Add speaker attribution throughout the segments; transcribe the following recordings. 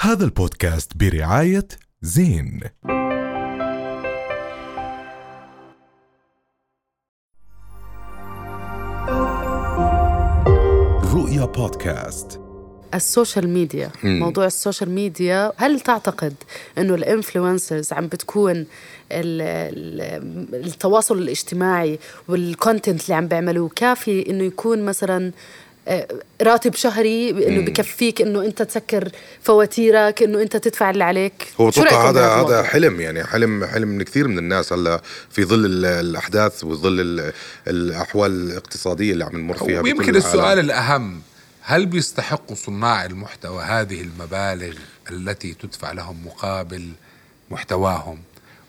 Speaker 1: هذا البودكاست برعاية زين رؤيا بودكاست
Speaker 2: السوشيال ميديا
Speaker 1: مم.
Speaker 2: موضوع السوشيال ميديا هل تعتقد انه الانفلونسرز عم بتكون ال- ال- التواصل الاجتماعي والكونتنت اللي عم بيعملوه كافي انه يكون مثلا آه، راتب شهري انه بكفيك انه انت تسكر فواتيرك انه انت تدفع اللي عليك
Speaker 3: هو
Speaker 2: شو رأيكم
Speaker 3: اتوقع هذا
Speaker 2: بهذا الموضوع؟
Speaker 3: هذا حلم يعني حلم حلم لكثير من الناس هلا في ظل ال- الاحداث وظل ال- الاحوال الاقتصاديه اللي عم نمر فيها بكل
Speaker 4: ويمكن
Speaker 3: العالم.
Speaker 4: السؤال الأهم هل بيستحق صناع المحتوى هذه المبالغ التي تدفع لهم مقابل محتواهم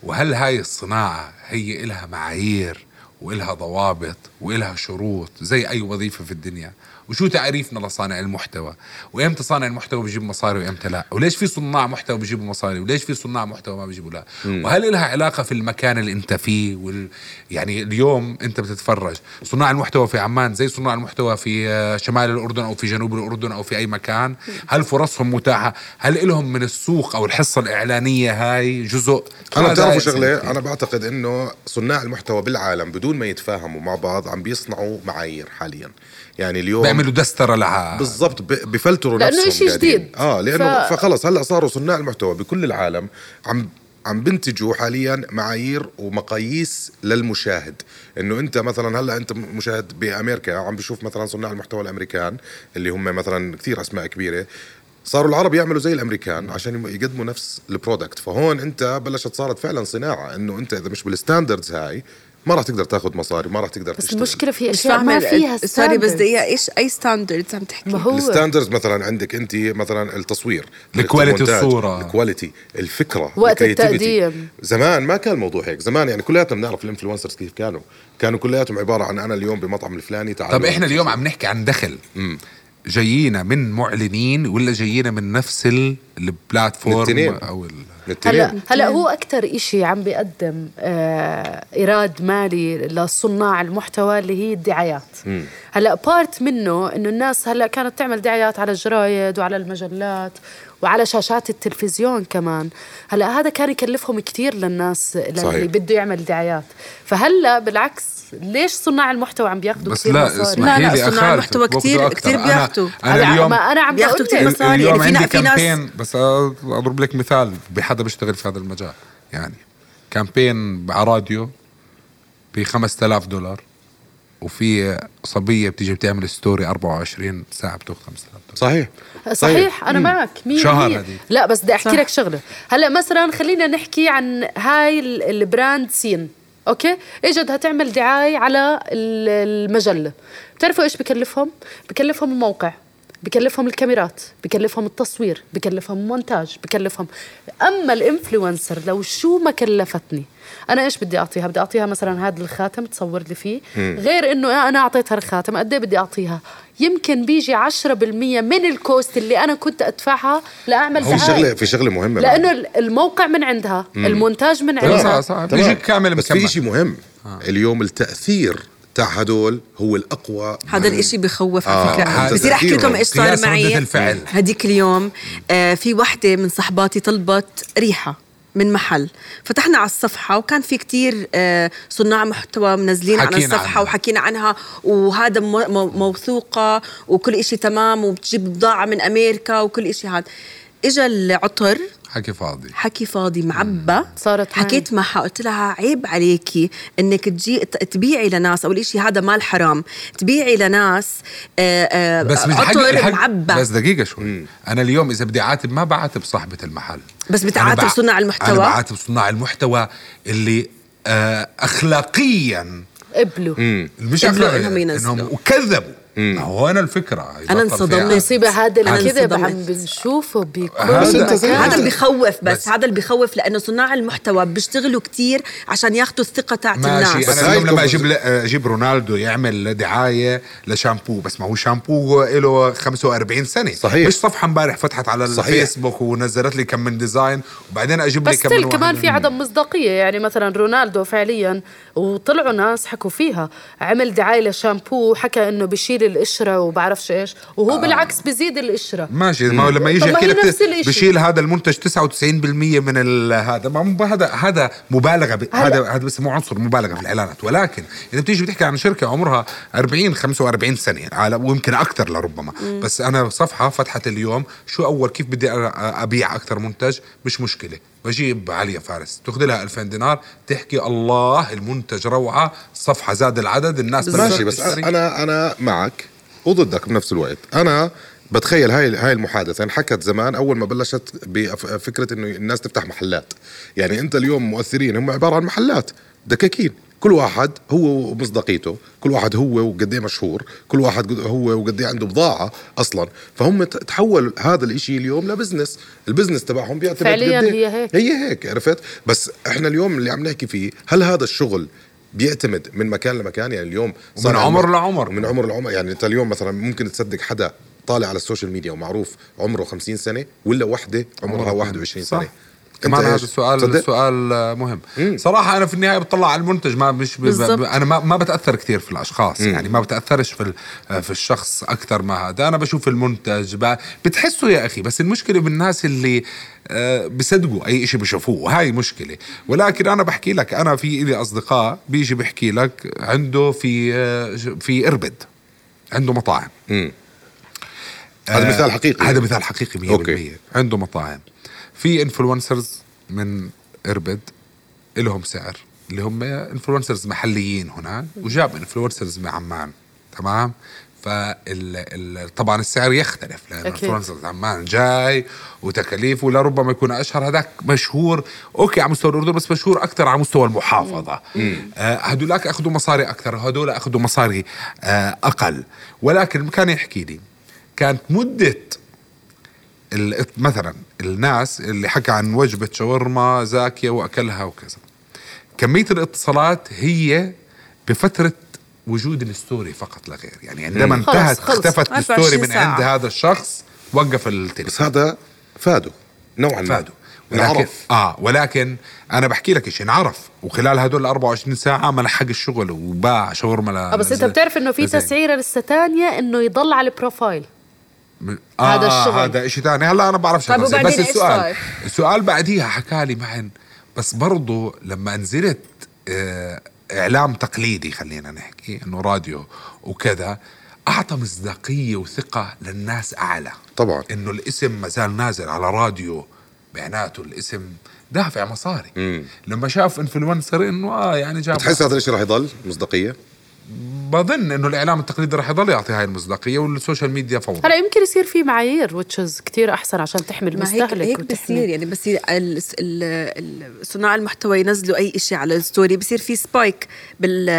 Speaker 4: وهل هاي الصناعة هي إلها معايير وإلها ضوابط وإلها شروط زي أي وظيفة في الدنيا وشو تعريفنا لصانع المحتوى وامتى صانع المحتوى بجيب مصاري وامتى لا وليش في صناع محتوى بجيبوا مصاري وليش في صناع محتوى ما بجيبوا لا وهل لها علاقه في المكان اللي انت فيه وال... يعني اليوم انت بتتفرج صناع المحتوى في عمان زي صناع المحتوى في آه، شمال الاردن او في جنوب الاردن او في اي مكان هل فرصهم متاحه هل لهم من السوق او الحصه الاعلانيه هاي جزء
Speaker 3: انا
Speaker 4: هذا
Speaker 3: بتعرفوا
Speaker 4: هاي
Speaker 3: شغله
Speaker 4: أسئلتي.
Speaker 3: انا بعتقد انه صناع المحتوى بالعالم بدون ما يتفاهموا مع بعض عم بيصنعوا معايير حاليا يعني اليوم
Speaker 4: بيعملوا دستره لها
Speaker 3: بالضبط ب- بفلتروا
Speaker 2: لأنه
Speaker 3: نفسهم
Speaker 2: إشي
Speaker 3: قاعدين.
Speaker 2: جديد.
Speaker 3: اه لانه
Speaker 2: ف-
Speaker 3: ف... فخلص هلا صاروا صناع المحتوى بكل العالم عم عم بنتجوا حاليا معايير ومقاييس للمشاهد انه انت مثلا هلا انت م- مشاهد بامريكا عم بشوف مثلا صناع المحتوى الامريكان اللي هم مثلا كثير اسماء كبيره صاروا العرب يعملوا زي الامريكان عشان يم- يقدموا نفس البرودكت فهون انت بلشت صارت فعلا صناعه انه انت اذا مش بالستاندردز هاي ما راح تقدر تاخذ مصاري ما راح تقدر
Speaker 2: بس
Speaker 3: تشتغل.
Speaker 2: المشكله في
Speaker 5: مش
Speaker 2: اشياء ما
Speaker 5: فاهمة
Speaker 2: فيها
Speaker 5: سوري بس
Speaker 2: standards.
Speaker 5: دقيقة ايش اي ستاندردز عم تحكي
Speaker 2: ما هو
Speaker 3: الستاندرز مثلا عندك انت مثلا التصوير
Speaker 4: الكواليتي
Speaker 3: المونتاج،
Speaker 4: الصورة.
Speaker 3: الكواليتي الفكره
Speaker 2: وقت
Speaker 3: الكرياتيفيتي.
Speaker 2: التقديم.
Speaker 3: زمان ما كان الموضوع هيك زمان يعني كلياتنا بنعرف الانفلونسرز كيف كانوا كانوا كلياتهم عباره عن انا اليوم بمطعم الفلاني تعالوا
Speaker 4: طب احنا اليوم عم نحكي عن دخل جايينا من معلنين ولا جايينا من نفس ال- البلاتفورم
Speaker 3: الاتنين.
Speaker 4: او ال...
Speaker 3: هلا
Speaker 2: هلا هلا هو اكثر إشي عم بيقدم آه ايراد مالي لصناع المحتوى اللي هي الدعايات هلا بارت منه انه الناس هلا كانت تعمل دعايات على الجرايد وعلى المجلات وعلى شاشات التلفزيون كمان هلا هذا كان يكلفهم كثير للناس
Speaker 3: صحيح.
Speaker 2: اللي بده يعمل دعايات فهلا بالعكس ليش صناع المحتوى عم بياخذوا
Speaker 4: بس
Speaker 2: كثير
Speaker 4: لا
Speaker 2: مصاري؟
Speaker 4: اسمحي
Speaker 5: لا، لا،
Speaker 4: لي
Speaker 5: صناع
Speaker 4: أخالفك،
Speaker 5: المحتوى
Speaker 4: بوقته
Speaker 5: كتير-
Speaker 4: أكتر.
Speaker 5: كتير
Speaker 4: أنا-
Speaker 5: بياخدوا.
Speaker 2: هلا
Speaker 4: انا اليوم
Speaker 2: ما انا عم
Speaker 5: بياخدوا
Speaker 2: بقول
Speaker 5: كتير
Speaker 2: لك.
Speaker 5: مصاري. يعني
Speaker 4: اليوم
Speaker 5: في نا-
Speaker 4: عندي
Speaker 5: في ناس-
Speaker 4: كامبين بس اضرب لك مثال بحدا بيشتغل في هذا المجال يعني كامبين على راديو ب 5000 دولار وفي صبيه بتيجي بتعمل ستوري 24 ساعه بتاخذ 5000 دولار
Speaker 3: صحيح
Speaker 4: طيب.
Speaker 2: صحيح انا معك 100%
Speaker 4: شهر هذيك.
Speaker 2: لا بس بدي احكي
Speaker 5: صح.
Speaker 2: لك شغله هلا مثلا خلينا نحكي عن هاي ال- البراند سين اوكي اجت بدها تعمل دعايه على ال- المجله بتعرفوا ايش بكلفهم بكلفهم الموقع بكلفهم الكاميرات بكلفهم التصوير بكلفهم المونتاج بكلفهم اما الانفلونسر لو شو ما كلفتني انا ايش بدي اعطيها بدي اعطيها مثلا هذا الخاتم تصور لي فيه غير انه انا اعطيتها الخاتم قد إيه بدي اعطيها يمكن بيجي 10% من الكوست اللي انا كنت ادفعها لاعمل
Speaker 3: في
Speaker 2: دعايه
Speaker 3: شغله في شغله مهمه بعد.
Speaker 2: لانه ال- الموقع من عندها المونتاج من
Speaker 4: تمام.
Speaker 2: عندها
Speaker 4: صح، صح.
Speaker 3: تمام.
Speaker 4: بيجيك كامل
Speaker 3: بس
Speaker 4: مكمل. آه.
Speaker 3: في شيء مهم اليوم التاثير تاع هدول هو الاقوى
Speaker 5: هذا الاشي بخوف على
Speaker 3: آه،
Speaker 5: فكرة
Speaker 4: هذا
Speaker 5: بصير احكي لكم ايش صار
Speaker 4: قياس ردة
Speaker 5: معي
Speaker 4: الفعل.
Speaker 5: هديك اليوم آه في وحدة من صحباتي طلبت ريحة من محل فتحنا على الصفحة وكان في كتير آه، صناع محتوى منزلين على
Speaker 4: حكينا
Speaker 5: الصفحة
Speaker 4: عنها.
Speaker 5: وحكينا عنها وهذا مو- مو- موثوقة وكل إشي تمام وبتجيب بضاعة من أمريكا وكل إشي هذا إجا العطر
Speaker 4: حكي فاضي
Speaker 5: حكي فاضي معبى
Speaker 2: صارت معي.
Speaker 5: حكيت معها قلت لها عيب عليكي انك تجي ت- تبيعي لناس اول شيء هذا مال حرام تبيعي لناس آه، آه،
Speaker 4: بس مش
Speaker 5: عطر
Speaker 4: حق
Speaker 5: معبى
Speaker 4: بس دقيقه شوي انا اليوم اذا بدي اعاتب ما بعاتب صاحبه المحل
Speaker 5: بس
Speaker 4: أنا
Speaker 5: بتعاتب
Speaker 4: بع-
Speaker 5: صناع المحتوى؟
Speaker 4: انا بعاتب صناع المحتوى اللي آه اخلاقيا
Speaker 2: قبلوا
Speaker 4: مش
Speaker 5: إنه-
Speaker 4: اخلاقيا
Speaker 5: إنهم ينزلوا.
Speaker 4: انهم وكذبوا ما هو انا الفكره إذا
Speaker 5: أنا
Speaker 4: صار في
Speaker 5: انصدمت.
Speaker 4: عن-
Speaker 2: مصيبة هذا
Speaker 5: أنا
Speaker 2: الكذب
Speaker 5: انصدمت.
Speaker 2: عم بنشوفه بكل
Speaker 4: بس أنت زي-
Speaker 2: مكان
Speaker 5: هذا اللي بخوف بس,
Speaker 4: بس-
Speaker 5: هذا اللي بخوف لانه صناع المحتوى بيشتغلوا كتير عشان ياخذوا الثقه تاعت
Speaker 4: ماشي
Speaker 5: الناس
Speaker 3: بس
Speaker 4: انا اليوم
Speaker 3: هاي
Speaker 4: لما
Speaker 3: الكونفرس-
Speaker 4: اجيب اجيب رونالدو يعمل دعايه لشامبو بس ما هو شامبو له 45 سنه
Speaker 3: صحيح.
Speaker 4: مش صفحه امبارح فتحت على
Speaker 3: صحيح.
Speaker 4: الفيسبوك ونزلت لي كم من ديزاين وبعدين اجيب لي
Speaker 2: بس
Speaker 4: كم من
Speaker 2: still كمان
Speaker 4: واحد.
Speaker 2: في عدم مصداقيه يعني مثلا رونالدو فعليا وطلعوا ناس حكوا فيها عمل دعايه لشامبو حكى انه بشيل القشره وبعرفش ايش وهو آه. بالعكس بزيد القشره
Speaker 4: ماشي ما هو لما يجي
Speaker 2: طب ما
Speaker 4: يحكي
Speaker 2: هي
Speaker 4: لك
Speaker 2: نفس الإشي.
Speaker 4: بشيل هذا المنتج 99% من ال- هذا ما مو- هذا هذا مبالغه ب- هذا هذا بسموه عنصر مبالغه في الاعلانات ولكن اذا بتيجي بتحكي عن شركه عمرها 40 45 سنه على ويمكن اكثر لربما بس انا صفحه فتحت اليوم شو اول كيف بدي أ- ابيع اكثر منتج مش مشكله بجيب عليا فارس تاخذ لها 2000 دينار تحكي الله المنتج روعه صفحه زاد العدد الناس بدها
Speaker 3: ماشي بس
Speaker 4: تشتري.
Speaker 3: انا انا معك وضدك بنفس الوقت انا بتخيل هاي هاي المحادثه انحكت زمان اول ما بلشت بفكره انه الناس تفتح محلات يعني انت اليوم مؤثرين هم عباره عن محلات دكاكين كل واحد هو ومصداقيته كل واحد هو وقد ايه مشهور كل واحد قد- هو وقد ايه عنده بضاعه اصلا فهم ت- تحول هذا الاشي اليوم لبزنس البزنس تبعهم بيعتمد
Speaker 2: فعلياً
Speaker 3: قد إيه-
Speaker 2: هي هيك.
Speaker 3: هي هيك عرفت بس احنا اليوم اللي عم نحكي فيه هل هذا الشغل بيعتمد من مكان لمكان يعني اليوم صار
Speaker 4: ومن
Speaker 3: عندنا-
Speaker 4: عمر لعمر.
Speaker 3: ومن عمر لعمر يعني انت اليوم مثلا ممكن تصدق حدا طالع على السوشيال ميديا ومعروف عمره 50 سنه ولا وحده عمرها 21
Speaker 4: صح.
Speaker 3: سنه
Speaker 4: كمان
Speaker 3: أنت
Speaker 4: هذا
Speaker 3: إيش؟
Speaker 4: السؤال
Speaker 3: تصدق؟
Speaker 4: سؤال مهم صراحه انا في النهايه بطلع على المنتج ما مش ب...
Speaker 5: بالضبط.
Speaker 4: ب... انا ما, ما بتاثر كثير في الاشخاص مم. يعني ما بتاثرش في ال... في الشخص اكثر ما هذا انا بشوف المنتج ب... بتحسه يا اخي بس المشكله بالناس اللي آه، بصدقوا اي شيء بشوفوه وهاي مشكله ولكن انا بحكي لك انا في لي اصدقاء بيجي بحكي لك عنده في آه، في اربد عنده مطاعم
Speaker 3: هذا مثال حقيقي
Speaker 4: هذا مثال حقيقي 100%
Speaker 3: أوكي.
Speaker 4: عنده مطاعم في انفلونسرز من اربد لهم سعر اللي هم انفلونسرز محليين هناك وجاب انفلونسرز من عمان تمام فال طبعا السعر يختلف لان
Speaker 2: أكيد.
Speaker 4: انفلونسرز عمان جاي وتكاليف ولربما يكون اشهر هذاك مشهور اوكي على مستوى الاردن بس مشهور اكثر على مستوى المحافظه آه، هدولاك اخذوا مصاري اكثر هدول اخذوا مصاري آه، اقل ولكن كان يحكي لي كانت مده ال- مثلا الناس اللي حكى عن وجبة شاورما زاكية وأكلها وكذا كمية الاتصالات هي بفترة وجود الستوري فقط لا غير يعني عندما
Speaker 2: خلص،
Speaker 4: انتهت
Speaker 2: خلص.
Speaker 4: اختفت
Speaker 5: 24
Speaker 4: الستوري من
Speaker 5: ساعة.
Speaker 4: عند هذا الشخص وقف
Speaker 3: بس
Speaker 4: التلفزيون
Speaker 3: هذا فادو نوعا ما
Speaker 4: فادوا ولكن
Speaker 3: انعرف.
Speaker 4: اه ولكن انا بحكي لك ايش انعرف وخلال هدول 24 ساعه ما لحق الشغل وباع شاورما ل-
Speaker 2: آه بس انت
Speaker 4: لزي-
Speaker 2: بتعرف انه في
Speaker 4: لزي-
Speaker 2: تسعيره لسه تانية انه يضل على البروفايل
Speaker 4: آه
Speaker 2: هذا الشغل.
Speaker 4: هذا شيء ثاني هلا انا بعرف شغله
Speaker 5: طيب
Speaker 4: زي-
Speaker 5: وبعدين
Speaker 4: بس
Speaker 5: إيش
Speaker 4: السؤال
Speaker 5: طيب؟
Speaker 4: السؤال بعديها حكى لي معن بس برضو لما نزلت آه، اعلام تقليدي خلينا نحكي انه راديو وكذا اعطى مصداقيه وثقه للناس اعلى
Speaker 3: طبعاً.
Speaker 4: انه الاسم ما زال نازل على راديو معناته الاسم دافع مصاري مم. لما شاف انفلونسر انه اه يعني جاب
Speaker 3: بتحس هذا الشيء رح يضل مصداقيه
Speaker 4: بظن انه الاعلام التقليدي راح يضل يعطي هاي المصداقيه والسوشيال ميديا فورا
Speaker 2: هلا يمكن يصير في معايير وتشز كتير احسن عشان تحمي
Speaker 5: ما هيك
Speaker 2: المستهلك
Speaker 5: هيك
Speaker 2: وتحمي-
Speaker 5: بصير يعني بصير ال- ال- ال- صناع المحتوى ينزلوا اي شيء على الستوري بصير في سبايك بال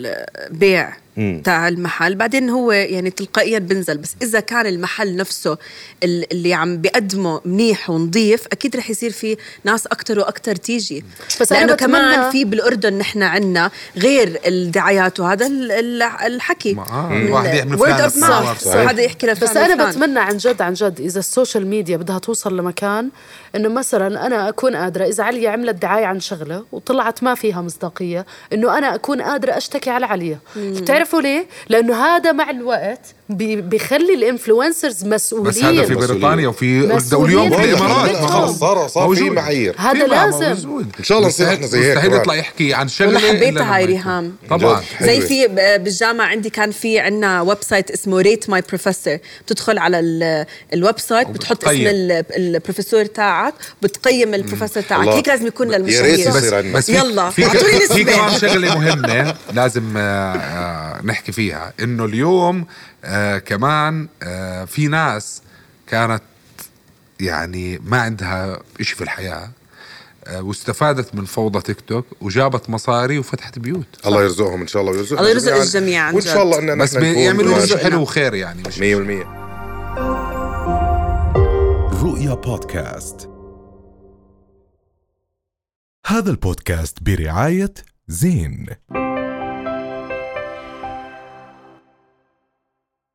Speaker 5: بالبيع تاع المحل بعدين هو يعني تلقائيا بنزل بس اذا كان المحل نفسه ال- اللي عم بيقدمه منيح ونظيف اكيد رح يصير في ناس اكثر واكثر تيجي
Speaker 2: بس أنا
Speaker 5: لانه
Speaker 2: بتمنى-
Speaker 5: كمان في بالاردن نحن عنا غير الدعايات وهذا ال- ال- الحكي
Speaker 4: ما- آه، الواحد يعمل
Speaker 5: وورد
Speaker 4: فلان
Speaker 5: اوف
Speaker 4: لفلان.
Speaker 5: ماوث
Speaker 3: صحيح.
Speaker 5: حدا يحكي لفلان
Speaker 2: بس انا
Speaker 5: وفلان.
Speaker 2: بتمنى عن جد عن جد اذا السوشيال ميديا بدها توصل لمكان انه مثلا انا اكون قادره اذا عليا عملت دعايه عن شغله وطلعت ما فيها مصداقيه انه انا اكون قادره اشتكي على عليا بتعرفوا ليه لانه هذا مع الوقت بي- بيخلي الانفلونسرز مسؤولين
Speaker 4: بس هذا في
Speaker 3: مسؤولين.
Speaker 4: بريطانيا وفي
Speaker 2: مسؤولين.
Speaker 4: واليوم في
Speaker 2: والله،
Speaker 4: الامارات
Speaker 2: لا،
Speaker 4: ما خلص
Speaker 3: صار- صار في
Speaker 4: موجود.
Speaker 3: معايير.
Speaker 2: هذا
Speaker 4: في مع-
Speaker 2: لازم.
Speaker 4: موجود.
Speaker 3: إن شاء الله نصير
Speaker 4: مستحيل-
Speaker 3: إحنا زي هيك
Speaker 4: مستحيل
Speaker 3: كمان.
Speaker 4: يطلع يحكي عن شغله
Speaker 5: والله
Speaker 4: إلا
Speaker 5: حبيتها
Speaker 4: لما
Speaker 5: هاي
Speaker 4: يكون.
Speaker 5: ريهام.
Speaker 4: طبعا
Speaker 3: جد. حلوة.
Speaker 5: زي في ب- بالجامعه عندي كان في عندنا ويب سايت اسمه ريت ماي بروفيسور بتدخل على ال- الويب سايت بتحط اسم
Speaker 4: وبتقيم.
Speaker 5: ال- البروفيسور تاعك بتقيم البروفيسور تاعك
Speaker 3: الله.
Speaker 5: هيك لازم يكون
Speaker 3: يا
Speaker 5: للمشاهير
Speaker 3: ريت
Speaker 4: بس
Speaker 3: يصير عندنا.
Speaker 4: بس في-
Speaker 5: يلا،
Speaker 4: في
Speaker 5: أعطوني
Speaker 4: في
Speaker 5: نسبة.
Speaker 4: كمان شغله مهمه لازم آه، آه، نحكي فيها انه اليوم آه، كمان آه، في ناس كانت يعني ما عندها إشي في الحياه آه، واستفادت من فوضى تيك توك وجابت مصاري وفتحت بيوت
Speaker 3: الله يرزقهم ان شاء الله ويرزقنا
Speaker 5: الله يرزق الجميع عن
Speaker 3: وان
Speaker 5: جد.
Speaker 3: شاء الله اننا
Speaker 4: بس
Speaker 3: نحن نكون
Speaker 4: بيعملوا
Speaker 3: ماشي.
Speaker 4: رزق حلو وخير يعني مش
Speaker 3: 100%
Speaker 1: رؤيا بودكاست هذا البودكاست برعاية زين